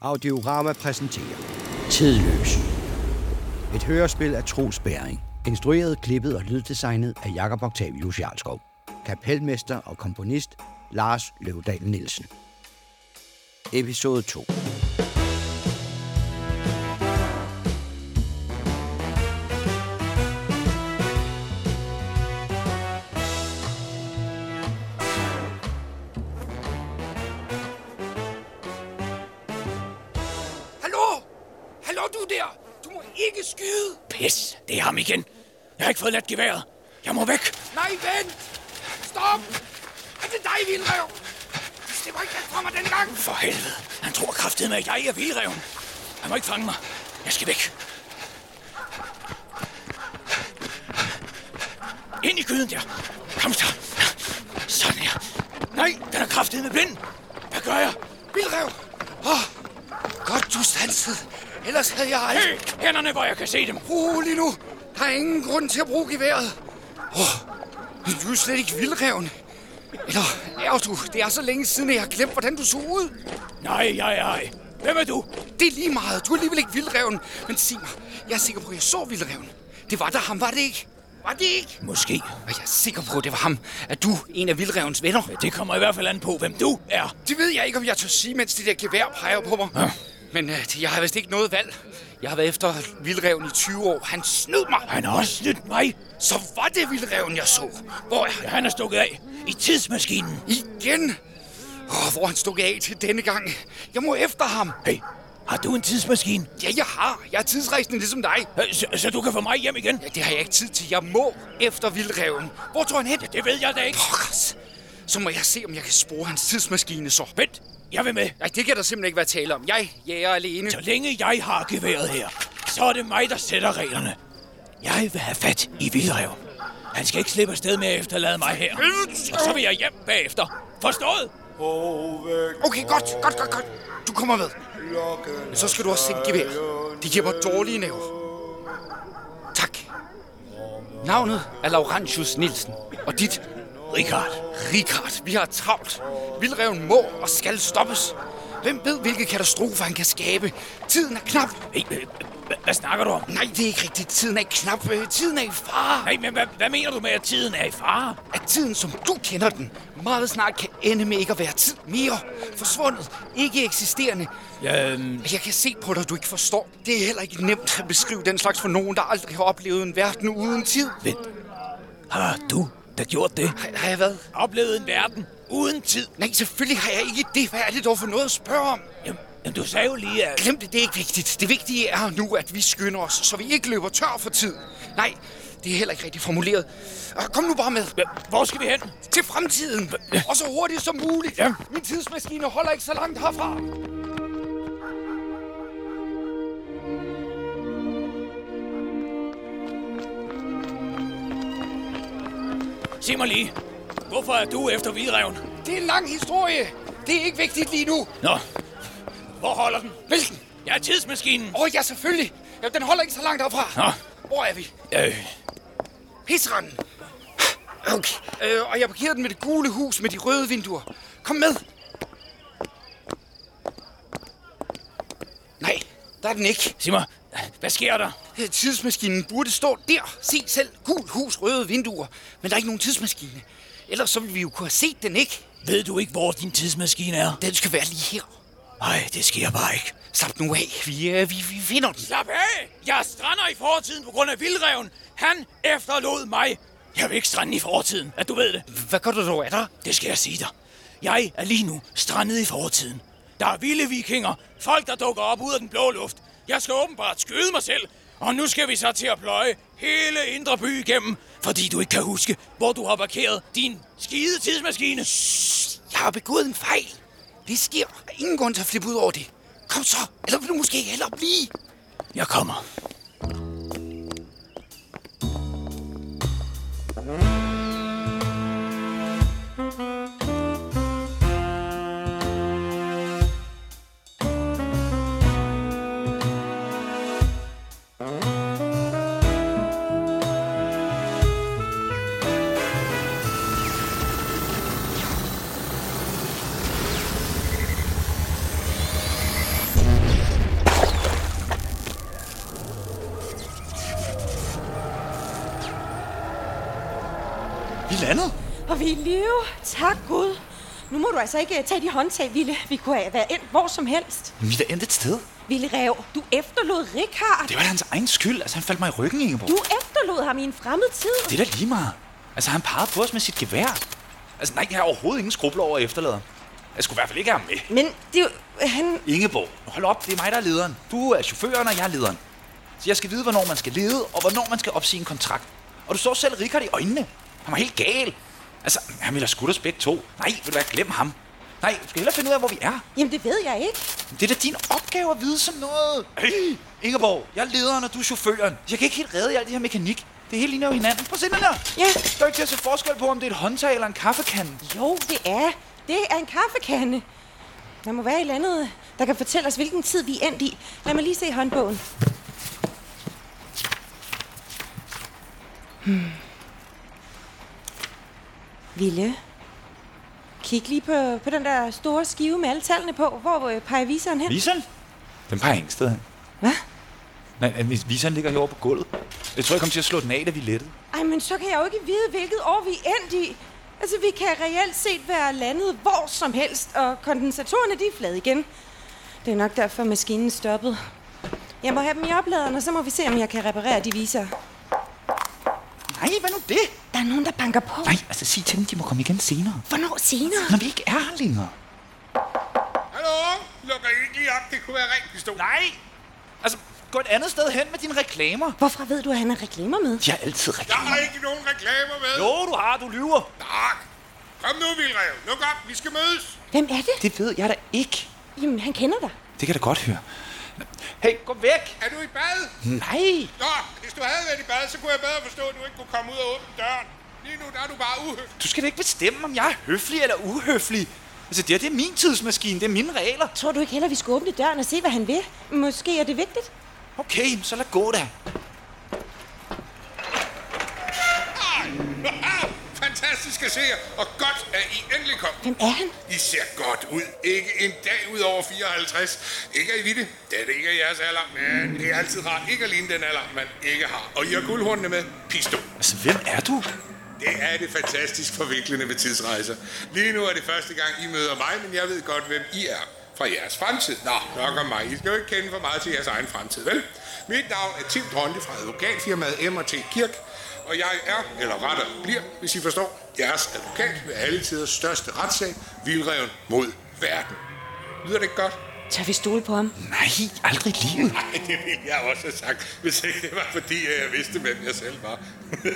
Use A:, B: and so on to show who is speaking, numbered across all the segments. A: Audiorama præsenterer Tidløs. Et hørespil af Troels Bæring. Instrueret, klippet og lyddesignet af Jakob Octavius Jarlskov. Kapelmester og komponist Lars Løvdal Nielsen. Episode 2.
B: Hallo? Hallo, du der? Du må ikke skyde!
C: Pis, det er ham igen. Jeg har ikke fået ladt geværet. Jeg må væk.
B: Nej, vent! Stop! Er det dig, vildrev? Du slipper ikke væk fra mig denne gang!
C: For helvede. Han tror kraftedeme, med, at jeg er vildreven. Han må ikke fange mig. Jeg skal væk. Ind i gyden der. Kom så. Sådan her. Nej, den er kraftet med blind. Hvad gør jeg?
B: Vildrev! Åh, godt du stansede. Ellers havde jeg aldrig...
C: Hey, Øh, hænderne, hvor jeg kan se dem.
B: Rolig nu. Der er ingen grund til at bruge geværet. Oh, du er jo slet ikke vildreven. Eller er du? Det er så længe siden, at jeg har glemt, hvordan du så ud.
C: Nej, nej, nej. Hvem er du?
B: Det er lige meget. Du er alligevel ikke vildreven. Men sig mig, jeg er sikker på, at jeg så vildreven. Det var der ham, var det ikke? Var det ikke?
C: Måske.
B: Og jeg er sikker på, at det var ham. Er du en af vildrevens venner?
C: Det kommer i hvert fald an på, hvem du er.
B: Det ved jeg ikke, om jeg tør sige, mens det der gevær peger på mig. Ja. Men øh, jeg har vist ikke noget valg. Jeg har været efter vildreven i 20 år. Han snød mig.
C: Han har også snydt mig.
B: Så var det vildreven, jeg så. Hvor er han?
C: Han er stukket af i tidsmaskinen.
B: Igen? Oh, hvor er han stukket af til denne gang. Jeg må efter ham.
C: Hey, har du en tidsmaskine?
B: Ja, jeg har. Jeg er tidsrejsende ligesom dig.
C: Øh, Så, så du kan få mig hjem igen?
B: Ja, det har jeg ikke tid til. Jeg må efter vildreven. Hvor tror han hen? Ja,
C: Det ved jeg da ikke.
B: Pokkers. Så må jeg se, om jeg kan spore hans tidsmaskine så.
C: Vent, jeg vil med.
B: Nej, det kan der simpelthen ikke være tale om. Jeg jager alene.
C: Så længe jeg har geværet her, så er det mig, der sætter reglerne. Jeg vil have fat i Vildrev. Han skal ikke slippe afsted med at efterlade mig her. Og så vil jeg hjem bagefter. Forstået?
B: Okay, godt, godt, godt, godt. Du kommer med. Men så skal du også sænke gevær. Det giver mig dårlige nerver. Tak. Navnet er Laurentius Nielsen. Og dit,
C: Richard,
B: Richard. Vi har travlt. Vildreven må og skal stoppes. Hvem ved, hvilke katastrofer han kan skabe? Tiden er knap.
C: hey, øh, hva- hvad snakker du om?
B: Nej, det er ikke rigtigt. Tiden er ikke knap. Øh, Tiden er i fare.
C: Hey, men hvad, hvad mener du med, at tiden er i fare?
B: At tiden, som du kender den, meget snart kan ende med ikke at være tid mere. Forsvundet. Ikke eksisterende.
C: Øhm,
B: Jeg kan se på dig, at du ikke forstår. Det er heller ikke nemt at beskrive den slags for nogen, der aldrig har oplevet en verden uden tid.
C: vent. Har du da gjort det?
B: Har, har jeg været?
C: Oplevet en verden uden tid?
B: Nej, selvfølgelig har jeg ikke det. Hvad er det dog for noget at spørge om?
C: Jamen, jamen, du sagde jo lige, at...
B: Glem det, det er ikke vigtigt. Det vigtige er nu, at vi skynder os, så vi ikke løber tør for tid. Nej, det er heller ikke rigtig formuleret. Ah, Kom nu bare med.
C: Hvor skal vi hen?
B: Til fremtiden. Og så hurtigt som muligt.
C: Ja.
B: Min tidsmaskine holder ikke så langt herfra.
C: Sig mig lige. Hvorfor er du efter Hvidreven?
B: Det er en lang historie. Det er ikke vigtigt lige nu.
C: Nå, hvor holder den?
B: Hvilken?
C: Jeg er tidsmaskinen.
B: Åh oh, ja, selvfølgelig. Ja, den holder ikke så langt herfra.
C: Nå.
B: Hvor er vi?
C: Øh,
B: Pisseranden. Okay. Øh, og jeg parkerede den med det gule hus med de røde vinduer. Kom med. Nej, der er den ikke.
C: sig mig, hvad sker der?
B: Øh, Tidsmaskinen burde stå der. Se selv. Gul hus, røde vinduer. Men der er ikke nogen tidsmaskine. Ellers så ville vi jo kunne have set den, ikke?
C: Ved du ikke, hvor din tidsmaskine er?
B: Den skal være lige her.
C: Nej, det sker bare ikke.
B: Slap nu af. Vi, øh, vi, vi finder den.
C: Slap af! Jeg strander i fortiden på grund af vildreven. Han efterlod mig. Jeg vil ikke strande i fortiden, at du ved det.
B: Hvad gør du dog af dig?
C: Det skal jeg sige dig. Jeg er lige nu strandet i fortiden. Der er vilde vikinger. Folk, der dukker op ud af den blå luft. Jeg skal åbenbart skyde mig selv. Og nu skal vi så til at pløje hele Indre By igennem, fordi du ikke kan huske, hvor du har parkeret din skide tidsmaskine.
B: Jeg har begået en fejl. Det sker. Der er ingen grund til at flippe ud over det. Kom så. Eller vil du måske hellere blive?
C: Jeg kommer. landet.
D: Og vi er i live. Tak Gud. Nu må du altså ikke øh, tage de håndtag, Ville. Vi kunne have været endt hvor som helst.
C: Men vi er da endt et sted.
D: Ville Rev, du efterlod Richard.
C: Det var da hans egen skyld. Altså, han faldt mig i ryggen, Ingeborg.
D: Du efterlod ham i en fremmed tid.
C: Det er da lige meget. Altså, han pegede på os med sit gevær. Altså, nej, jeg har overhovedet ingen skrubler over efterlader. Jeg skulle i hvert fald ikke have ham med.
D: Men det, er jo- han...
C: Ingeborg, hold op, det er mig, der er lederen. Du er chaufføren, og jeg er lederen. Så jeg skal vide, hvornår man skal lede, og hvornår man skal opsige en kontrakt. Og du så selv Richard i øjnene. Han var helt gal. Altså, han ville have skudt os begge to. Nej, vil du hvad, glem ham. Nej, du skal hellere finde ud af, hvor vi er.
D: Jamen, det ved jeg ikke.
C: Men Det er da din opgave at vide sådan noget. Hey, Ingeborg, jeg er lederen, og du er chaufføren. Jeg kan ikke helt redde i alt det her mekanik. Det hele ligner jo hinanden. Prøv at se den der.
D: Ja.
C: Der er jo ikke til at se forskel på, om det er et håndtag eller en kaffekande.
D: Jo, det er. Det er en kaffekande. Der må være et eller andet, der kan fortælle os, hvilken tid vi er endt i. Lad mig lige se håndbogen. Hmm. Hmm. Ville, kig lige på, på den der store skive med alle tallene på. Hvor øh, peger viseren hen?
C: Viseren? Den peger ingen sted hen.
D: Hvad?
C: Nej, øh, vis- viseren ligger herovre på gulvet. Jeg tror, jeg kom til at slå den af, da vi lettede.
D: Ej, men så kan jeg jo ikke vide, hvilket år vi er endt i. Altså, vi kan reelt set være landet hvor som helst, og kondensatorerne, de er flade igen. Det er nok derfor, maskinen stoppede. Jeg må have dem i opladeren, og så må vi se, om jeg kan reparere de viser.
C: Nej, hvad nu det?
D: Der er nogen, der banker på.
C: Nej, altså sig til dem, de må komme igen senere.
D: Hvornår senere?
C: Når vi ikke er her længere.
E: Hallo? Lukker I ikke lige op? Det kunne være rent pistol.
C: Nej! Altså, gå et andet sted hen med dine reklamer.
D: Hvorfor ved du, at han har reklamer med?
C: De har altid
E: Jeg
C: reklamer.
E: har ikke nogen reklamer med.
C: Jo, du har, du lyver.
E: Tak. Kom nu, Vildrev. Luk op. Vi skal mødes.
D: Hvem er det?
C: Det ved jeg da ikke.
D: Jamen, han kender dig.
C: Det kan jeg da godt høre. Hey, gå væk!
E: Er du i bad?
C: Nej!
E: Nå, hvis du havde været i bad, så kunne jeg bedre forstå, at du ikke kunne komme ud og åbne døren. Lige nu, der er du bare uhøflig.
C: Du skal da ikke bestemme, om jeg er høflig eller uhøflig. Altså, det her, det er min tidsmaskine. Det er mine regler.
D: Tror du ikke heller, vi skulle åbne døren og se, hvad han vil? Måske er det vigtigt?
C: Okay, så lad gå da.
E: Fantastisk at se jer, og godt, at I endelig kom.
D: Hvem er han?
E: I ser godt ud. Ikke en dag ud over 54. Ikke er I vilde? Det er det ikke af jeres alder, men det er altid rart. Ikke alene den alder, man ikke har. Og I har guldhornene med. Pistol.
C: Altså, hvem er du?
E: Det er det fantastisk forviklende ved tidsrejser. Lige nu er det første gang, I møder mig, men jeg ved godt, hvem I er fra jeres fremtid. Nå, nok om mig. I skal jo ikke kende for meget til jeres egen fremtid, vel? Mit navn er Tim Dronte fra advokatfirmaet M&T Kirk, og jeg er, eller retter bliver, hvis I forstår, jeres advokat ved alle tiders største retssag, Vildreven mod verden. Lyder det ikke godt?
D: Tør vi stole på ham?
C: Nej, aldrig i livet.
E: Ej, det ville jeg også have sagt, hvis ikke det var fordi, at jeg vidste, hvem jeg selv var.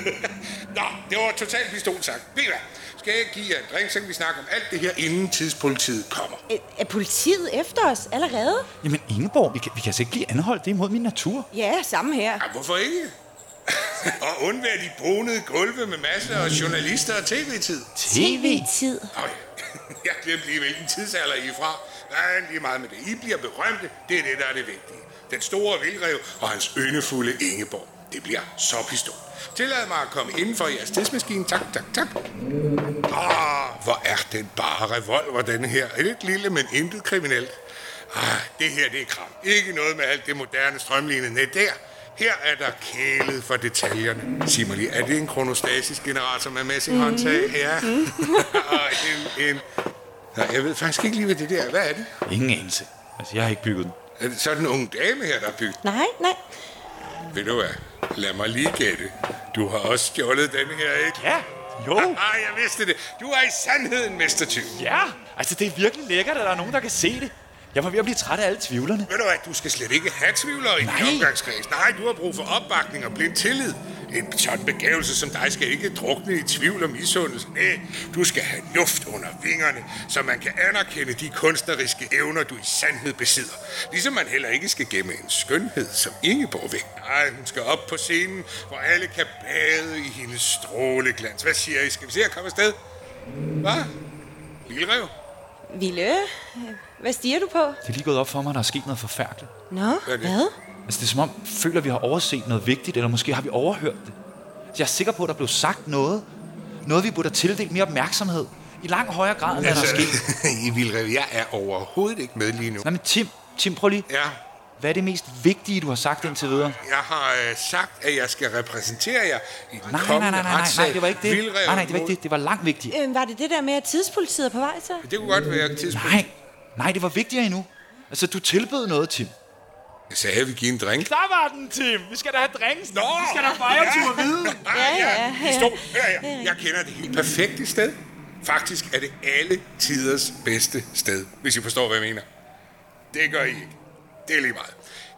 E: Nå, det var totalt pistol sagt. Ved I hvad? Skal jeg give jer en drink, så kan vi snakke om alt det her, inden tidspolitiet kommer.
D: Er, er politiet efter os allerede?
C: Jamen, Ingeborg, vi kan, vi kan altså ikke blive anholdt. Det er imod min natur.
D: Ja, samme her.
E: Ja, hvorfor ikke? og undvær de brunede gulve med masser af journalister og tv-tid.
D: TV-tid.
E: Nå, jeg glemte lige, hvilken tidsalder I er fra. Nej, lige meget med det. I bliver berømte. Det er det, der er det vigtige. Den store vildrev og hans yndefulde Ingeborg. Det bliver så pistol. Tillad mig at komme inden for jeres tidsmaskine. Tak, tak, tak. Ah, hvor er den bare revolver, den her. Lidt lille, men intet kriminelt. Ah, det her, det er kram. Ikke noget med alt det moderne strømlignende. Nej, der. Her er der kælet for detaljerne. Sig mig lige, er det en kronostatisk generator med messing håndtag? Ja. Og en, en... Nej, jeg ved faktisk ikke lige, hvad det der er. Hvad er det?
C: Ingen anelse. Altså, jeg har ikke bygget den.
E: Er det så den unge dame her, der har bygget?
D: Nej, nej.
E: Ved du hvad? Lad mig lige gætte. Du har også stjålet den her, ikke?
C: Ja, jo.
E: Ah, jeg vidste det. Du er i sandhed en mestertyv.
C: Ja, altså, det er virkelig lækkert, at der er nogen, der kan se det. Jeg var ved at blive træt af alle tvivlerne.
E: Ved du hvad, du skal slet ikke have tvivlere i din
C: Nej.
E: omgangskreds. Nej, du har brug for opbakning og blind tillid. En sådan begævelse som dig skal ikke drukne i tvivl og misundelse. Nej, du skal have luft under vingerne, så man kan anerkende de kunstneriske evner, du i sandhed besidder. Ligesom man heller ikke skal gemme en skønhed som Ingeborg væk. Nej, hun skal op på scenen, hvor alle kan bade i hendes stråleglans. Hvad siger I? Skal vi se at komme afsted? Hvad? Lille rev?
D: Ville, øh, hvad stiger du på?
C: Det er lige gået op for mig, at der er sket noget forfærdeligt.
D: Nå,
E: Hvad er det?
D: hvad?
C: Altså, det er som om, føler, at vi har overset noget vigtigt, eller måske har vi overhørt det. Så jeg er sikker på, at der blev sagt noget. Noget, vi burde have tildelt mere opmærksomhed. I langt højere grad,
E: Altså,
C: end hvad der er sket.
E: I Vildrev, jeg er overhovedet ikke med lige nu.
C: Nej, men Tim, Tim, prøv lige.
E: Ja.
F: Hvad er det mest vigtige, du har sagt indtil videre?
E: Jeg har øh, sagt, at jeg skal repræsentere jer i den
F: Nej, nej, nej,
E: kommende
F: nej, nej, nej,
E: retssag.
F: det var ikke det.
E: Vildrev
F: Nej, nej, det var ikke
E: mod-
F: det. Det var langt vigtigt.
D: Øh, var det det der med, at tidspolitiet er på vej så?
E: Det kunne godt være et tidspunkt.
F: Nej, nej, det var vigtigere endnu. Altså, du tilbød noget, Tim.
E: Jeg sagde, at vi give en drink.
F: Der var den, Tim. Vi skal da have drinks. Nå, vi skal da fejre ja. tur vide.
E: Ja,
D: ja,
E: I stod. Ja, ja. Jeg kender det helt perfekte sted. Faktisk er det alle tiders bedste sted, hvis I forstår, hvad jeg mener. Det gør I ikke. Det er lige meget.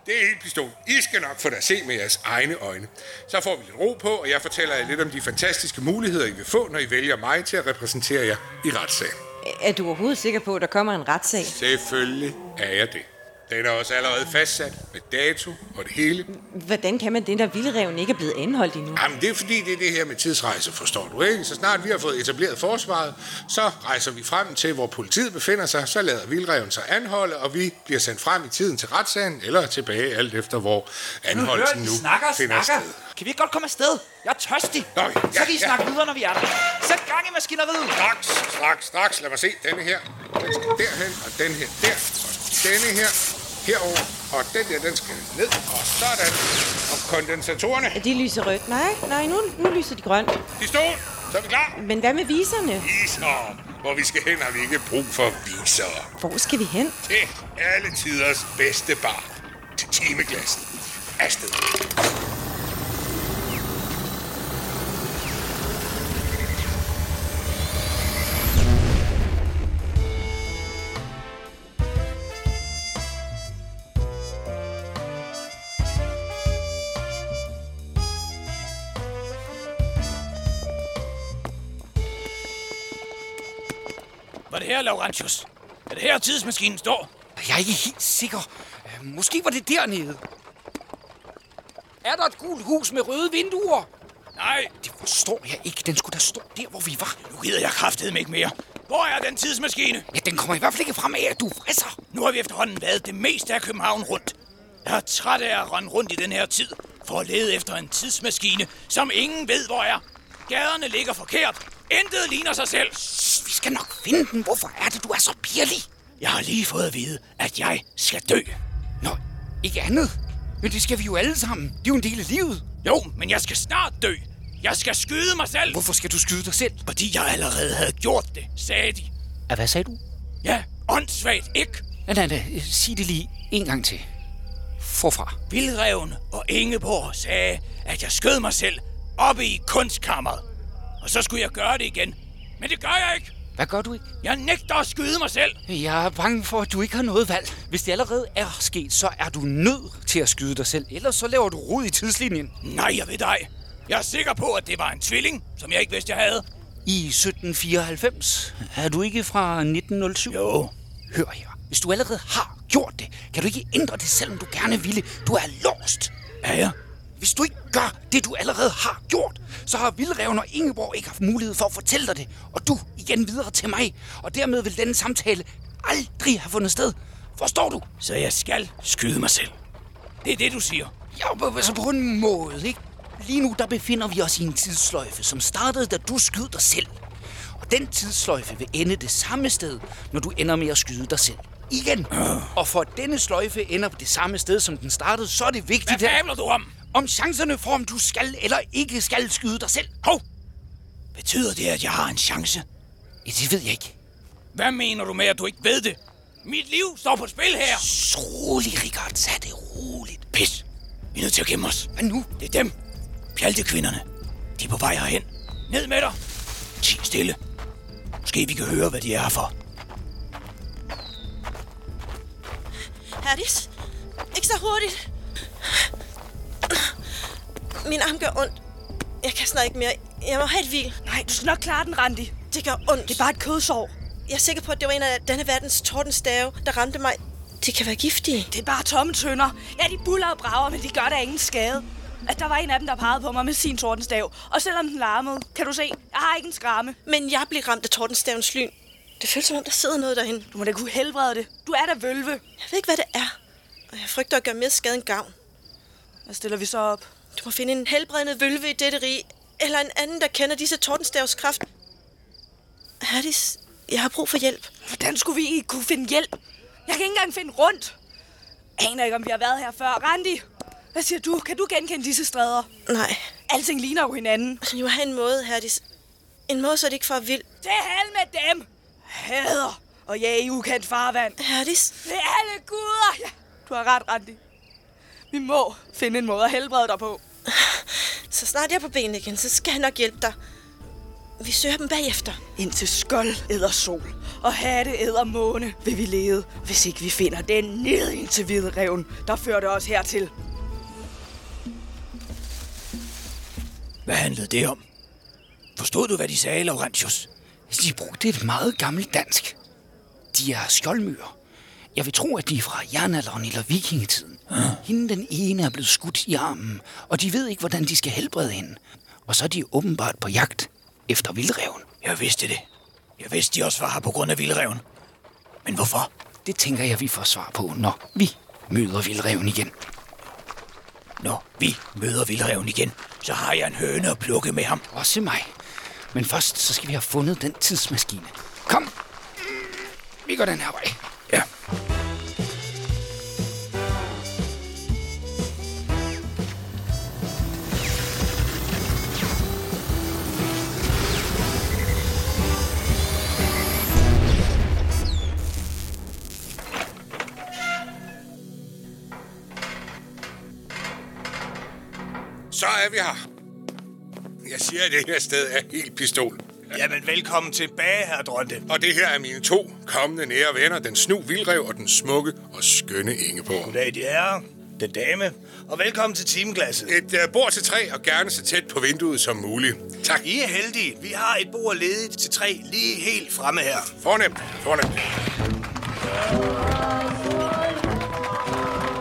E: Det er helt pistol. I skal nok få det at se med jeres egne øjne. Så får vi lidt ro på, og jeg fortæller jer lidt om de fantastiske muligheder, I vil få, når I vælger mig til at repræsentere jer i retssagen.
D: Er du overhovedet sikker på, at der kommer en retssag?
E: Selvfølgelig er jeg det. Den er også allerede fastsat med dato og det hele.
D: Hvordan kan man det, der vildreven ikke er blevet anholdt endnu?
E: Jamen, det er fordi, det er det her med tidsrejse, forstår du ikke? Så snart vi har fået etableret forsvaret, så rejser vi frem til, hvor politiet befinder sig, så lader vildreven sig anholde, og vi bliver sendt frem i tiden til retssagen, eller tilbage alt efter, hvor
F: Nu hører
E: anholdelsen nu,
F: de snakker og
E: finder
F: snakker.
E: sted.
F: Kan vi ikke godt komme afsted? Jeg er tørstig.
E: Nå, ja,
F: Så kan I
E: ja.
F: snakke videre, når vi er der. Sæt gang i maskineriet.
E: Straks, straks, straks. Lad mig se denne her. Den skal derhen, og den her der, og denne her herover, og den der, den skal ned, og sådan. Og kondensatorerne
D: De lyser rødt. Nej, nej, nu, nu lyser de grønt.
E: i stol, så er vi klar.
D: Men hvad med viserne?
E: Viser. Hvor vi skal hen, har vi ikke brug for viser.
D: Hvor skal vi hen?
E: Det er alle tiders bedste bar. Til timeglassen. Afsted.
C: Var det her, Laurentius? Er det her, tidsmaskinen står?
G: Jeg er ikke helt sikker. Øh, Måske var det dernede. Er der et gult hus med røde vinduer?
C: Nej,
G: Det forstår jeg ikke. Den skulle da stå der, hvor vi var.
C: nu gider jeg kraftedeme ikke mere. Hvor er den tidsmaskine?
G: Ja, den kommer i hvert fald ikke frem af, at du frisser.
C: Nu har vi efterhånden været det meste af København rundt. Jeg er træt af at rende rundt i den her tid for at lede efter en tidsmaskine, som ingen ved, hvor er. Gaderne ligger forkert. Intet ligner sig selv.
G: Vi skal nok finde den. Hvorfor er det, du er så pirlig?
C: Jeg har lige fået at vide, at jeg skal dø.
G: Nå, ikke andet. Men det skal vi jo alle sammen. Det er jo en del af livet.
C: Jo, men jeg skal snart dø. Jeg skal skyde mig selv,
G: Hvorfor skal du skyde dig selv?
C: fordi jeg allerede havde gjort det, sagde de.
G: Ah, hvad sagde du?
C: Ja, åndssvagt, ikke?
G: Nej, nej, nej. Sig det lige en gang til. Forfra.
C: Vildreven og Ingeborg sagde, at jeg skød mig selv oppe i kunstkammeret. Og så skulle jeg gøre det igen. Men det gør jeg ikke.
G: Hvad gør du ikke?
C: Jeg nægter at skyde mig selv.
G: Jeg er bange for, at du ikke har noget valg. Hvis det allerede er sket, så er du nødt til at skyde dig selv. Ellers så laver du rod i tidslinjen.
C: Nej, jeg ved dig. Jeg er sikker på, at det var en tvilling, som jeg ikke vidste, jeg havde.
G: I 1794 er du ikke fra 1907?
C: Jo.
G: Hør her. Hvis du allerede har gjort det, kan du ikke ændre det, selvom du gerne ville. Du er låst.
C: Er jeg?
G: Hvis du ikke gør det, du allerede har gjort, så har Vildreven og Ingeborg ikke haft mulighed for at fortælle dig det, og du igen videre til mig, og dermed vil denne samtale aldrig have fundet sted. Forstår du?
C: Så jeg skal skyde mig selv. Det er det, du siger.
G: Ja, på, altså på en måde, ikke? Lige nu, der befinder vi os i en tidssløjfe, som startede, da du skød dig selv. Og den tidssløjfe vil ende det samme sted, når du ender med at skyde dig selv. Igen. Og for at denne sløjfe ender på det samme sted, som den startede, så er det
C: Hvad
G: vigtigt, at...
C: fabler du om?
G: om chancerne for, om du skal eller ikke skal skyde dig selv.
C: Hov! Betyder det, at jeg har en chance?
G: Ja, det ved jeg ikke.
C: Hvad mener du med, at du ikke ved det? Mit liv står på spil her.
G: Så rolig, Richard. Tag det roligt.
C: Pis. Vi er nødt til at gemme os.
G: Hvad nu?
C: Det er dem. Pjaltekvinderne. De er på vej herhen. Ned med dig. Ti stille. Måske vi kan høre, hvad de er her for.
H: Herdis, ikke så hurtigt. Min arm gør ondt. Jeg kan snart ikke mere. Jeg må have et hvil.
I: Nej, du skal nok klare den, Randi.
H: Det gør ondt.
I: Det er bare et kødsår.
H: Jeg er sikker på, at det var en af denne verdens tordenstave, der ramte mig. De kan være giftige.
I: Det er bare tomme tønder. Ja, de buller og brager, men de gør da ingen skade. At der var en af dem, der pegede på mig med sin tordenstav. Og selvom den larmede, kan du se, jeg har ikke en skramme.
H: Men jeg blev ramt af tordenstavens lyn. Det føles som om, der sidder noget derhen.
I: Du må da kunne helbrede det. Du er da vølve.
H: Jeg ved ikke, hvad det er. Og jeg frygter at gøre mere skade end gavn.
I: Hvad stiller vi så op?
H: Du må finde en helbredende vølve i dette rige. Eller en anden, der kender disse tordenstavs kraft. Herdis, jeg har brug for hjælp.
I: Hvordan skulle vi ikke kunne finde hjælp? Jeg kan ikke engang finde rundt. aner ikke, om vi har været her før. Randi, hvad siger du? Kan du genkende disse stræder?
H: Nej.
I: Alting ligner jo hinanden.
H: Jo, have en måde, Herdis. En måde, så det ikke får vild.
I: Det er hal med dem! Hader og jeg i ukendt farvand.
H: Herdis?
I: Det er alle guder! Ja, du har ret, Randi. Vi må finde en måde at helbrede dig på.
H: Så snart jeg er på benene igen, så skal jeg nok hjælpe dig. Vi søger dem bagefter.
I: Indtil skjold æder sol, og hatte æder måne, vil vi lede, hvis ikke vi finder den ned ind til hvide reven, der førte os hertil.
C: Hvad handlede det om? Forstod du, hvad de sagde, Laurentius?
B: De brugte et meget gammelt dansk. De er skjoldmyrer. Jeg vil tro, at de er fra jernalderen eller vikingetiden. Hende den ene er blevet skudt i armen, og de ved ikke, hvordan de skal helbrede hende. Og så er de åbenbart på jagt efter vildreven.
C: Jeg vidste det. Jeg vidste, de også var her på grund af vildreven. Men hvorfor?
B: Det tænker jeg, vi får svar på, når vi møder vildreven igen.
C: Når vi møder vildreven igen, så har jeg en høne at plukke med ham.
B: Også mig. Men først, så skal vi have fundet den tidsmaskine. Kom! Vi går den her vej.
C: Ja.
E: Så er vi her. Jeg siger, at det her sted er helt pistol.
J: Jamen, velkommen tilbage, herre Dronte.
E: Og det her er mine to kommende nære venner, den snu vildrev og den smukke og skønne Ingeborg.
J: Goddag, de herrer. Den dame. Og velkommen til timeglasset.
E: Et uh, bord til tre, og gerne så tæt på vinduet som muligt. Tak.
J: I er heldige. Vi har et bord ledigt til tre lige helt fremme her.
E: Fornemt, fornemt.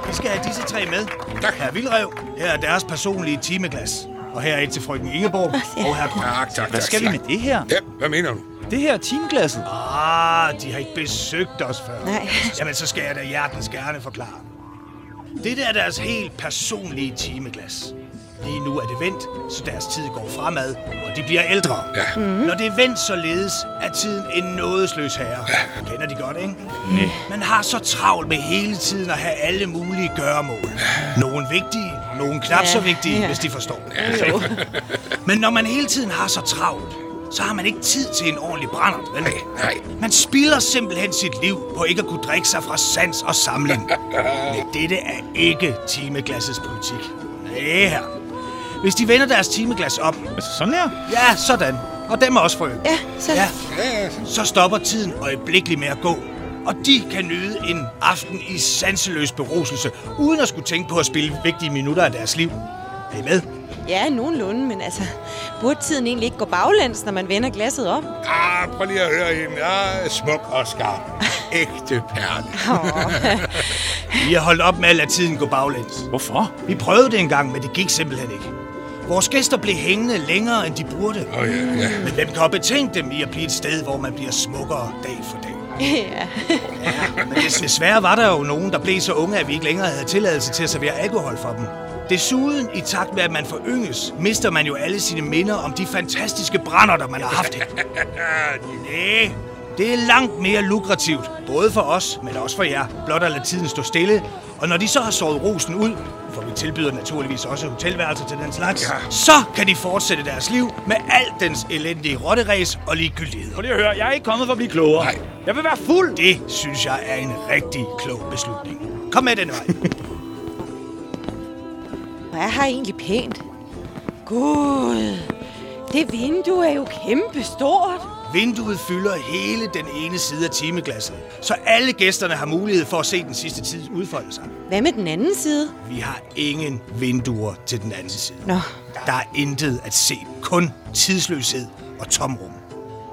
J: Vi skal have disse tre med.
E: Tak.
J: Herre Vildrev, her er deres personlige timeglas. Og her er et til frøken Ingeborg og herre Dronte.
E: Tak, tak,
J: Hvad
E: tak,
J: skal vi
E: tak.
J: med det her?
E: Ja, hvad mener du?
K: Det her er timeglasset.
J: Ah, de har ikke besøgt os før.
D: Nej.
J: Jamen, så skal jeg da hjertens gerne forklare. Det er deres helt personlige timeglas. Lige nu er det vendt, så deres tid går fremad, og de bliver ældre.
E: Ja.
D: Mhm.
J: Mm. Når det er vendt således, er tiden en nådesløs herre. Ja. Kender de godt, ikke? Nej. Man har så travlt med hele tiden at have alle mulige gøremål. Nogle vigtige, nogle knap så
D: Ja,
J: vigtige,
D: ja.
J: hvis de forstår. Men når man hele tiden har så travlt, så har man ikke tid til en ordentlig brændert, vel?
E: Nej, nej.
J: Man spilder simpelthen sit liv på ikke at kunne drikke sig fra sans og samling. Men dette er ikke timeglassets politik. Næh her. Hvis de vender deres timeglas op,
K: Altså sådan her.
J: ja, sådan. Og dem er også frøen.
D: Ja, så
J: Ja. Så stopper tiden øjeblikkeligt med at gå. Og de kan nyde en aften i sanseløs beruselse, uden at skulle tænke på at spille vigtige minutter af deres liv. Er I med?
D: ja, nogenlunde, men altså, burde tiden egentlig ikke gå baglæns, når man vender glasset om?
E: Ah, prøv lige at høre hende. Ja, smuk og skarp. Ægte perle.
J: Vi har holdt op med at lade tiden gå baglæns.
K: Hvorfor?
J: Vi prøvede det engang, men det gik simpelthen ikke. Vores gæster blev hængende længere, end de burde.
E: Åh, ja, ja.
J: Men hvem kan betænke dem i at blive et sted, hvor man bliver smukkere dag for dag?
D: ja.
J: Men des- desværre var der jo nogen, der blev så unge, at vi ikke længere havde tilladelse til at servere alkohol for dem. Desuden, i takt med at man forynges, mister man jo alle sine minder om de fantastiske brænder, man har haft. Næh, det er langt mere lukrativt, både for os, men også for jer, blot at lade tiden stå stille. Og når de så har såret rosen ud, for vi tilbyder naturligvis også hotelværelser til den slags, ja. så kan de fortsætte deres liv med alt dens elendige rotteræs og ligegyldighed.
K: Prøv lige at høre, jeg er ikke kommet for at blive klogere.
E: Nej.
K: Jeg vil være fuld.
J: Det synes jeg er en rigtig klog beslutning. Kom med den vej.
D: Hvor er her egentlig pænt? Gud, det vindue er jo kæmpestort.
J: Vinduet fylder hele den ene side af timeglasset, så alle gæsterne har mulighed for at se den sidste tid udfolde sig.
D: Hvad med den anden side?
J: Vi har ingen vinduer til den anden side.
D: Nå.
J: Der er intet at se, kun tidsløshed og tomrum.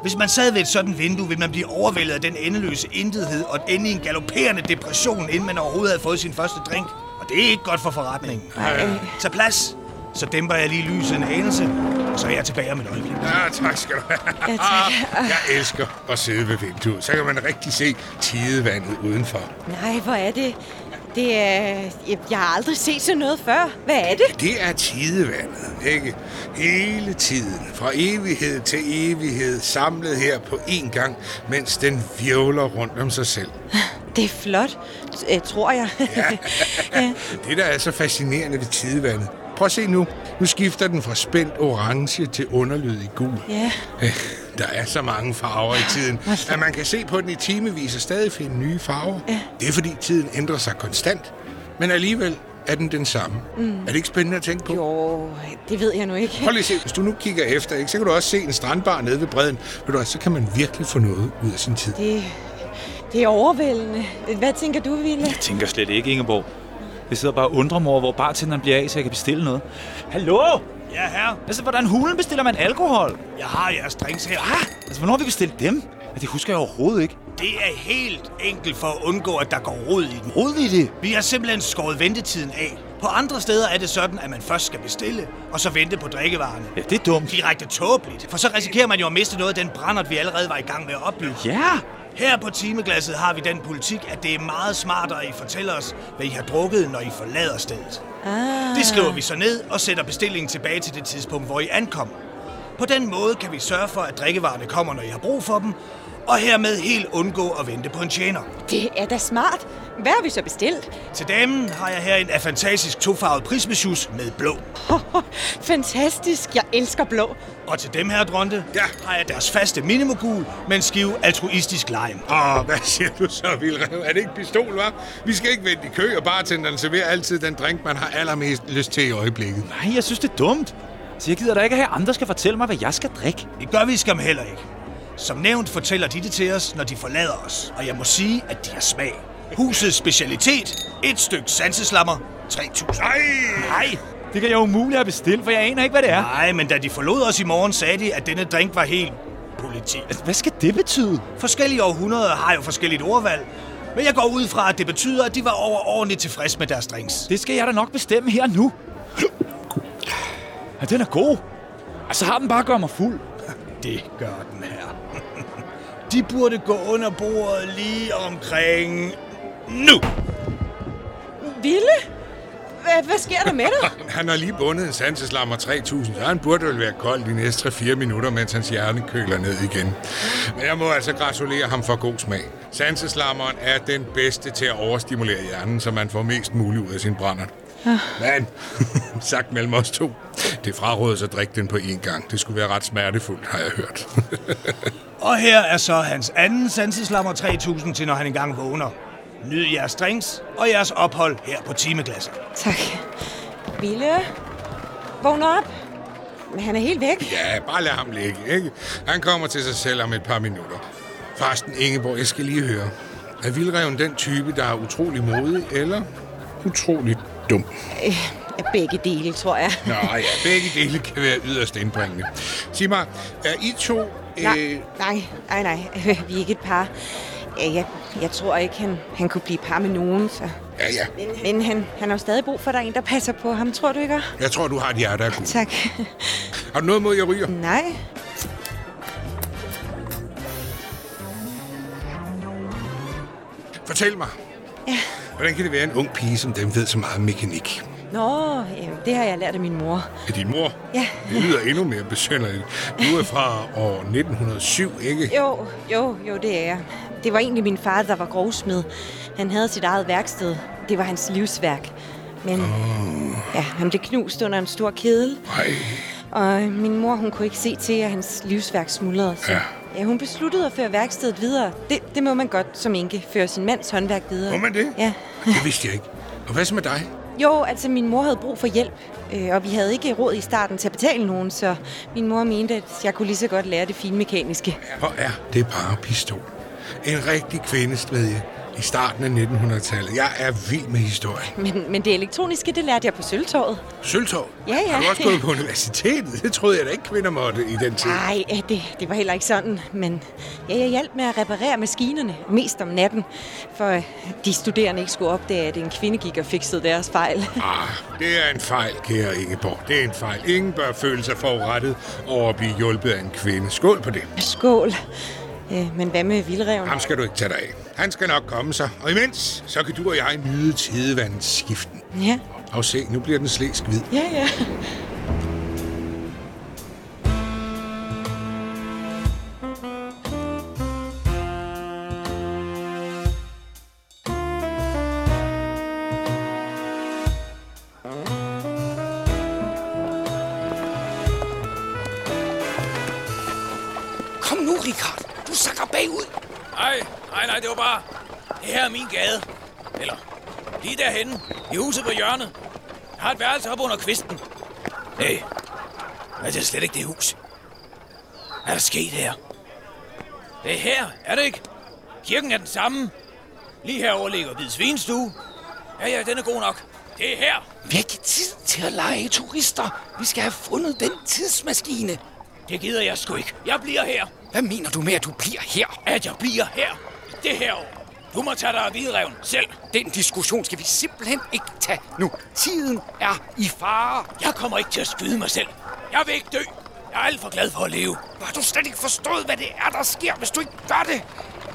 J: Hvis man sad ved et sådan vindue, ville man blive overvældet af den endeløse intethed og ende i en galopperende depression, inden man overhovedet havde fået sin første drink. Og det er ikke godt for forretningen. Nej. Tag plads, så dæmper jeg lige lyset en anelse, og så er jeg tilbage om et øjeblik.
E: Ja, tak skal du have.
D: Ja, tak.
E: Jeg elsker at sidde ved vinduet. Så kan man rigtig se tidevandet udenfor.
D: Nej, hvor er det? Det er... Jeg- Jeg har aldrig set sådan noget før. Hvad er det?
E: Det er tidevandet, ikke? Hele tiden, fra evighed til evighed, samlet her på én gang, mens den virvler rundt om sig selv.
D: Det er flot, øh, tror jeg. ja.
E: Det, der er så fascinerende ved tidevandet. Prøv at se nu. Nu skifter den fra spændt orange til underlyd i gul.
D: ja.
E: Øh, Der er så mange farver i tiden, at man kan se på den i timevis og stadig finde nye farver. Det er fordi tiden ændrer sig konstant, men alligevel er den den samme. Mm. Er det ikke spændende at tænke på?
D: Jo, det ved jeg nu ikke.
E: Prøv lige at se, hvis du nu kigger efter, ikke, så kan du også se en strandbar nede ved bredden. Ved du, hvad, så kan man virkelig få noget ud af sin tid.
D: Det, det er overvældende. Hvad tænker du, Ville?
K: Jeg tænker slet ikke, Ingeborg. Jeg sidder bare og undrer mig over, hvor bartenderen bliver af, så jeg kan bestille noget. Hallo?
J: Ja, herre.
K: Altså, hvordan hulen bestiller man alkohol?
J: Jeg har jeres drinks her.
K: Altså, hvornår har vi bestilt dem? Ja, det husker jeg overhovedet ikke.
J: Det er helt enkelt for at undgå, at der går rod i den.
K: Rode i det.
J: Vi har simpelthen skåret ventetiden af. På andre steder er det sådan, at man først skal bestille, og så vente på drikkevarerne.
K: Ja, det er dumt.
J: Direkte tåbeligt, for så risikerer man jo at miste noget af den brændert, vi allerede var i gang med at opbygge.
K: Ja.
J: Her på timeglasset har vi den politik, at det er meget smartere, at I fortæller os, hvad I har drukket, når I forlader stedet. Ah. Det skriver vi så ned og sætter bestillingen tilbage til det tidspunkt, hvor I ankommer. På den måde kan vi sørge for, at drikkevarerne kommer, når I har brug for dem, og hermed helt undgå at vente på en tjener.
D: Det er da smart. Hvad har vi så bestilt?
J: Til damen har jeg her en af fantastisk tofarvet prismesjus med blå.
D: Fantastisk. Jeg elsker blå.
J: Og til dem her, Dronte,
E: Ja.
J: har jeg deres faste minimogul med en skive altruistisk lime.
E: Åh, hvad siger du så, Vildrev? Er det ikke pistol, hva'? Vi skal ikke vente i kø, og bartenderen serverer altid den drink, man har allermest lyst til i øjeblikket.
K: Nej, jeg synes, det er dumt. Så jeg gider da ikke have, at andre skal fortælle mig, hvad jeg skal drikke.
J: Det gør vi skam heller ikke. Som nævnt fortæller de det til os, når de forlader os. Og jeg må sige, at de har smag. Husets specialitet. Et stykke sanseslammer. 3.000.
E: Ej!
J: Nej!
K: Det kan jeg umuligt have bestilt, for jeg aner ikke, hvad det er.
J: Nej, men da de forlod os i morgen, sagde de, at denne drink var helt politi.
K: Altså, Hvad skal det betyde?
J: Forskellige århundreder har jo forskelligt ordvalg. Men jeg går ud fra, at det betyder, at de var overordentligt tilfredse med deres drinks.
K: Det skal jeg da nok bestemme her nu. Ja, den er god. Og så har den bare gør mig fuld.
J: Det gør den her. De burde gå under bordet lige omkring nu.
D: Ville? Hvad, hvad sker der med dig?
E: Han har lige bundet en sanseslammer 3000, så han burde vel være kold de næste 3-4 minutter, mens hans hjerne køler ned igen. Men jeg må altså gratulere ham for god smag. Sanseslammeren er den bedste til at overstimulere hjernen, så man får mest muligt ud af sin brændert. Men, sagt mellem os to, det frarådes at drikke den på én gang. Det skulle være ret smertefuldt, har jeg hørt.
J: Og her er så hans anden sanseslammer 3000 til, når han engang vågner. Nyd jeres drinks og jeres ophold her på timeglasset.
D: tak. Ville? Vågn op. Men han er helt væk.
E: Ja, bare lad ham ligge, ikke? Han kommer til sig selv om et par minutter. Forresten, Ingeborg, jeg skal lige høre. Er vildreven den type, der er utrolig modig, eller utrolig dum?
D: Øh, begge dele, tror jeg.
E: Nå ja, begge dele kan være yderst indbringende. Sig mig, er I to... øh,
D: Nej, nej, nej, nej. Vi er ikke et par. Ja, jeg, jeg tror ikke, han, han kunne blive par med nogen, så...
E: ja, ja.
D: Men, men han, han har jo stadig brug for, at der er en, der passer på ham, tror du ikke?
E: Jeg tror, du har et hjerte af guld.
D: Tak.
E: Har du noget mod, jeg ryger?
D: Nej.
E: Fortæl mig.
D: Ja.
E: Hvordan kan det være en ung pige, som dem ved så meget om mekanik?
D: Nå, øh, det har jeg lært af min mor.
E: Er din mor?
D: Ja.
E: Det lyder endnu mere besynderligt. Du er fra år 1907, ikke?
D: Jo, jo, jo, det er jeg. Det var egentlig min far, der var grovsmed. Han havde sit eget værksted. Det var hans livsværk. Men ja, han blev knust under en stor kedel,
E: Nej.
D: og øh, min mor hun kunne ikke se til, at hans livsværk smuldrede. Så,
E: Ja.
D: ja. hun besluttede at føre værkstedet videre. Det, det må man godt som enke, føre sin mands håndværk videre.
E: Må man det?
D: Ja.
E: Det vidste jeg ikke. Og hvad så med dig?
D: Jo, altså min mor havde brug for hjælp, øh, og vi havde ikke råd i starten til at betale nogen, så min mor mente, at jeg kunne lige så godt lære det finmekaniske.
E: Hvor er det bare pistol? En rigtig kvindestvedje i starten af 1900-tallet. Jeg er vild med historien.
D: Men, men det elektroniske, det lærte jeg på sølvtorvet.
E: Sølvtorv?
D: Ja, ja.
E: Har du også gået på universitetet? Det troede jeg da ikke, kvinder måtte i den tid.
D: Nej, det, det var heller ikke sådan, men ja, jeg hjalp med at reparere maskinerne, mest om natten, for øh, de studerende ikke skulle opdage, at en kvinde gik og fikset deres fejl.
E: Ah, det er en fejl, kære Ingeborg. Det er en fejl. Ingen bør føle sig forurettet over at blive hjulpet af en kvinde. Skål på det.
D: Skål. Øh, men hvad med vildreven?
E: Ham skal du ikke tage dig af. Han skal nok komme sig. Og imens, så kan du og jeg nyde tidevandets skiften.
D: Ja,
E: Og se, nu bliver den slæsk hvid.
D: ja, ja.
C: nej, nej, det var bare... Det her er min gade. Eller, lige derhenne, i huset på hjørnet. Jeg har et værelse op under kvisten. Nej, men det er slet ikke det hus. Hvad er der sket her? Det er her, er det ikke? Kirken er den samme. Lige herover ligger Hvid Svinstue. Ja, ja, den er god nok. Det er her.
G: Vi har ikke tid til at lege turister. Vi skal have fundet den tidsmaskine.
C: Det gider jeg sgu ikke. Jeg bliver her.
G: Hvad mener du med, at du bliver her?
C: At jeg bliver her. I Det her år. Du må tage dig af hvidreven selv.
G: Den diskussion skal vi simpelthen ikke tage nu. Tiden er i fare.
C: Jeg kommer ikke til at skyde mig selv. Jeg vil ikke dø. Jeg er alt for glad for at leve.
G: Har du slet ikke forstået, hvad det er, der sker, hvis du ikke gør det?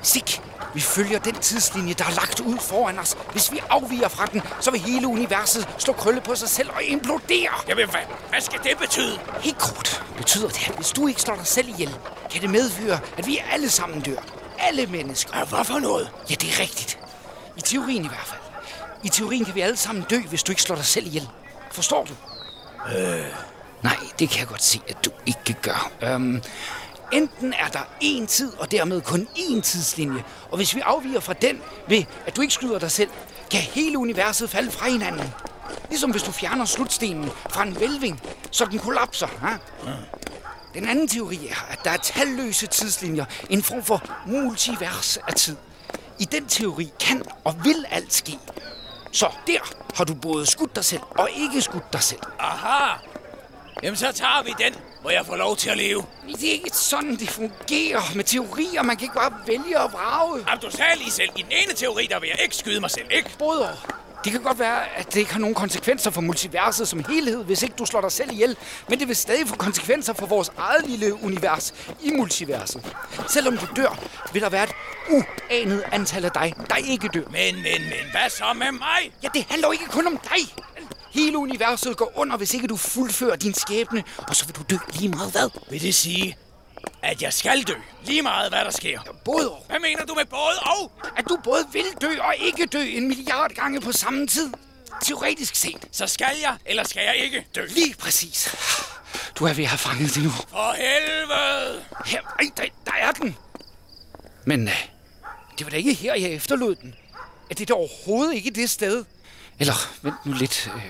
G: Sik, vi følger den tidslinje, der er lagt ud foran os. Hvis vi afviger fra den, så vil hele universet slå krølle på sig selv og implodere.
C: Jamen, hvad, hvad skal det betyde?
G: Helt kort betyder det, at hvis du ikke slår dig selv ihjel, kan det medføre, at vi alle sammen dør. Alle mennesker. Ja, hvad for noget? Ja, det er rigtigt. I teorien i hvert fald. I teorien kan vi alle sammen dø, hvis du ikke slår dig selv ihjel. Forstår du? Øh... Nej, det kan jeg godt se, at du ikke gør. Øhm, enten er der én tid, og dermed kun én tidslinje. Og hvis vi afviger fra den ved, at du ikke skyder dig selv, kan hele universet falde fra hinanden. Ligesom hvis du fjerner slutstenen fra en vælving, så den kollapser. Ha? Den anden teori er, at der er talløse tidslinjer, en form for multivers af tid. I den teori kan og vil alt ske. Så der har du både skudt dig selv og ikke skudt dig selv.
C: Aha! Jamen, så tager vi den, hvor jeg får lov til at leve.
G: Men Det er ikke sådan, det fungerer med teorier. Man kan ikke bare vælge og vrage.
C: Jamen, du sagde lige selv, i den ene teori, der vil jeg ikke skyde mig selv, ikke?
G: Både og. Det kan godt være, at det ikke har nogen konsekvenser for multiverset som helhed, hvis ikke du slår dig selv ihjel. Men det vil stadig få konsekvenser for vores eget lille univers i multiverset. Selvom du dør, vil der være et uanet antal af dig, der ikke dør.
C: Men, men, men, hvad så med mig?
G: Ja, det handler jo ikke kun om dig. Hele universet går under, hvis ikke du fuldfører din skæbne, og så vil du dø lige meget hvad.
C: Vil det sige, at jeg skal dø, lige meget hvad der sker?
G: Både og.
C: Hvad mener du med både og?
G: At du både vil dø og ikke dø en milliard gange på samme tid. Teoretisk set.
C: Så skal jeg, eller skal jeg ikke dø?
G: Lige præcis. Du er ved at have fanget det nu.
C: For helvede!
G: Her, ej, der, der er den. Men øh, det var da ikke her, jeg efterlod den. Er det da overhovedet ikke det sted? Eller, vent nu lidt. Øh,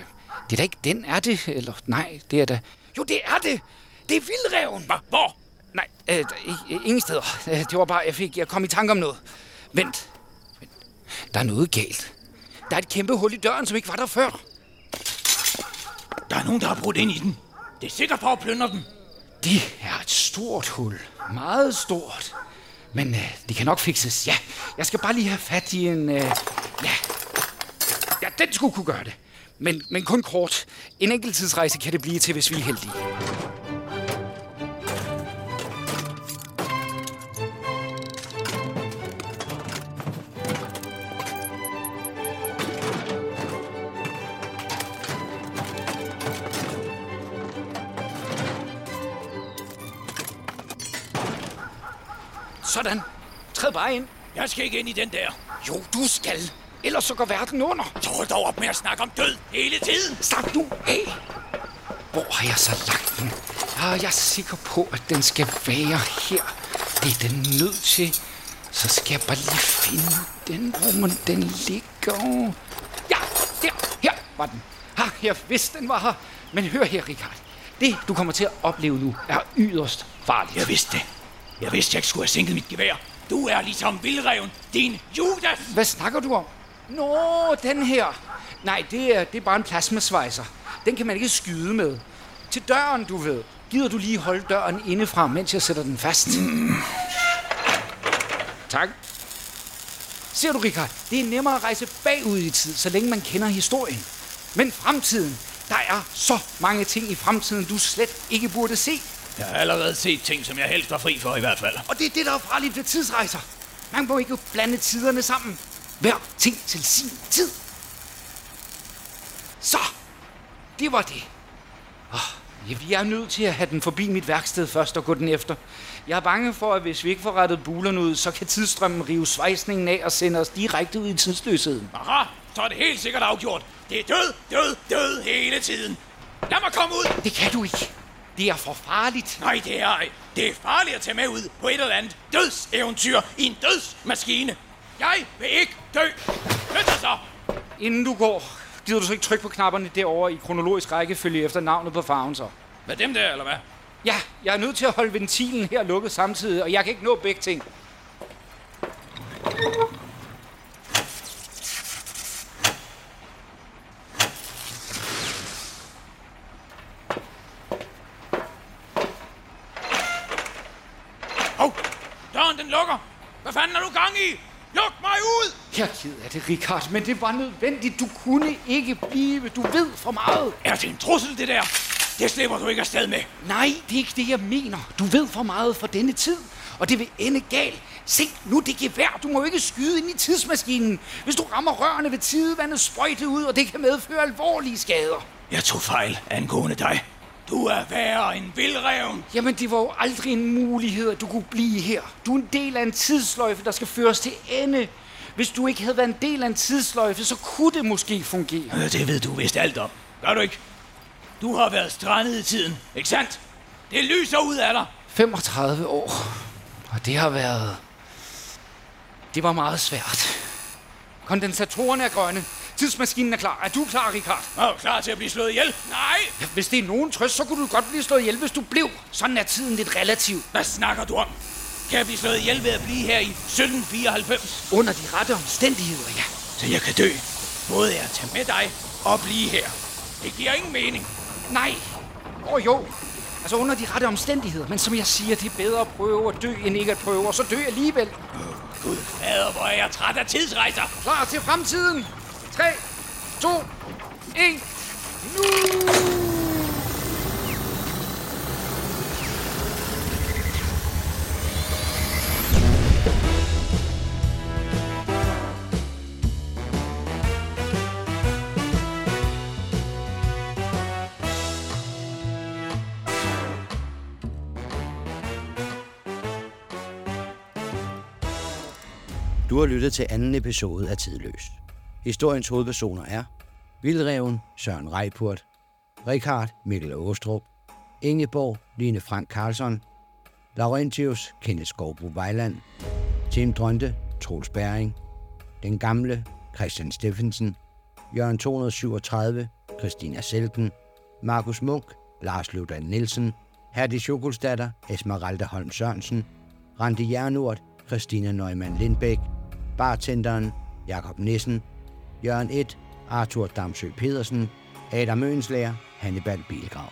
G: det er da ikke den, er det? Eller, nej, det er da... Jo, det er det! Det er vildreven!
C: Hva? Hvor?
G: Nej, øh, der- i- i- ingen steder. Øh, Det var bare, jeg fik... Jeg kom i tanke om noget. Vent. Vent. Der er noget galt. Der er et kæmpe hul i døren, som ikke var der før.
C: Der er nogen, der har brudt ind i den. Det er sikkert for at plyndre den.
G: Det er et stort hul. Meget stort. Men øh, det kan nok fikses. Ja, jeg skal bare lige have fat i en... Øh, ja. ja, den skulle kunne gøre det. Men, men kun kort. En enkeltidsrejse kan det blive til, hvis vi er heldige. Sådan. Træd bare ind.
C: Jeg skal ikke ind i den der.
G: Jo, du skal. Ellers så går verden under.
C: Så hold dog op med at snakke om død hele tiden.
G: Slap nu af. Hvor har jeg så lagt den? Ah, jeg er sikker på, at den skal være her. Det er den nødt til. Så skal jeg bare lige finde den, hvor man den ligger. Ja, der. Her var den. Ha, jeg vidste, den var her. Men hør her, Richard. Det, du kommer til at opleve nu, er yderst farligt.
C: Jeg vidste det. Jeg vidste, jeg ikke skulle have sænket mit gevær. Du er ligesom vildreven, din Judas.
G: Hvad snakker du om? Nå, den her. Nej, det er, det er bare en plasmasvejser. Den kan man ikke skyde med. Til døren, du ved. Gider du lige holde døren indefra, mens jeg sætter den fast? Tak. Ser du, Richard, det er nemmere at rejse bagud i tid, så længe man kender historien. Men fremtiden, der er så mange ting i fremtiden, du slet ikke burde se.
C: Jeg har allerede set ting, som jeg helst var fri for i hvert fald.
G: Og det er det, der er farligt ved tidsrejser. Man må ikke blande tiderne sammen. Hver ting til sin tid. Så, det var det. Oh, jeg jeg er nødt til at have den forbi mit værksted først og gå den efter. Jeg er bange for, at hvis vi ikke får rettet bulerne ud, så kan tidsstrømmen rive svejsningen af og sende os direkte ud i tidsløsheden.
C: Aha, så er det helt sikkert afgjort. Det er død, død, død hele tiden. Lad mig komme ud.
G: Det kan du ikke. Det er for farligt.
C: Nej, øh, det er ej. Det er farligt at tage med ud på et eller andet dødseventyr i en dødsmaskine. Jeg vil ikke dø. Skynd dig så.
L: Inden du går, gider du så ikke trykke på knapperne derovre i kronologisk rækkefølge efter navnet på farven så?
C: Hvad dem der, eller hvad?
L: Ja, jeg er nødt til at holde ventilen her lukket samtidig, og jeg kan ikke nå begge ting.
C: Hov, døren den lukker. Hvad fanden er du gang i? Luk mig ud!
L: Jeg er ked af det, Richard, men det var nødvendigt. Du kunne ikke blive. Du ved for meget.
C: Er det en trussel, det der? Det slipper du ikke afsted med.
G: Nej, det er ikke det, jeg mener. Du ved for meget for denne tid, og det vil ende galt. Se nu det gevær. Du må jo ikke skyde ind i tidsmaskinen. Hvis du rammer rørene ved tidevandet, sprøjte ud, og det kan medføre alvorlige skader.
C: Jeg tog fejl angående dig. Du er værre end vildreven.
L: Jamen, det var jo aldrig en mulighed, at du kunne blive her. Du er en del af en tidsløjfe, der skal føres til ende. Hvis du ikke havde været en del af en tidsløjfe, så kunne det måske fungere.
C: Øh, Det ved du vist alt om. Gør du ikke? Du har været strandet i tiden, ikke sandt? Det lyser ud af dig.
G: 35 år. Og det har været... Det var meget svært. Kondensatorerne er grønne. Tidsmaskinen er klar. Er du klar, Richard?
C: Jeg er klar til at blive slået ihjel. Nej!
G: Ja, hvis det er nogen trøst, så kunne du godt blive slået ihjel, hvis du blev. Sådan er tiden lidt relativ.
C: Hvad snakker du om? Kan jeg blive slået ihjel ved at blive her i 1794?
G: Under de rette omstændigheder, ja.
C: Så jeg kan dø. Både af at tage med dig og blive her. Det giver ingen mening.
G: Nej. Åh oh, jo. Altså under de rette omstændigheder. Men som jeg siger, det er bedre at prøve at dø, end ikke at prøve. Og så dø alligevel.
C: Gud fader, hvor er jeg træt af tidsrejser.
G: Klar til fremtiden. 3, 2, 1. Nu!
B: Du har lyttet til anden episode af Tidløs. Historiens hovedpersoner er Vildreven Søren Reipurt, Richard Mikkel Åstrup, Ingeborg Line Frank Karlsson, Laurentius Kenneth Skovbro Vejland, Tim Drønte Troels Bæring, Den Gamle Christian Steffensen, Jørgen 237 Christina Selten, Markus Munk Lars Løvdan Nielsen, Herdi Sjokolstatter Esmeralda Holm Sørensen, Randi Jernort Christina Neumann Lindbæk, bartenderen Jakob Nissen, Jørgen 1, Arthur Damsø Pedersen, Adam Øenslager, Hannibal Bilgrav.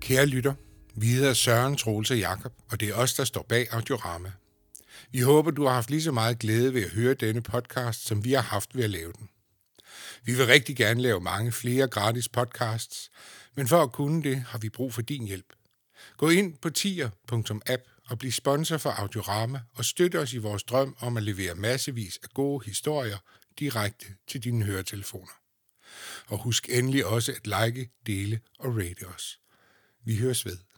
E: Kære lytter, vi hedder Søren Troels og Jakob, og det er os, der står bag Audiorama. Vi håber, du har haft lige så meget glæde ved at høre denne podcast, som vi har haft ved at lave den. Vi vil rigtig gerne lave mange flere gratis podcasts, men for at kunne det, har vi brug for din hjælp. Gå ind på tier.app og bliv sponsor for Audiorama og støt os i vores drøm om at levere massevis af gode historier direkte til dine høretelefoner. Og husk endelig også at like, dele og rate os. Vi høres ved.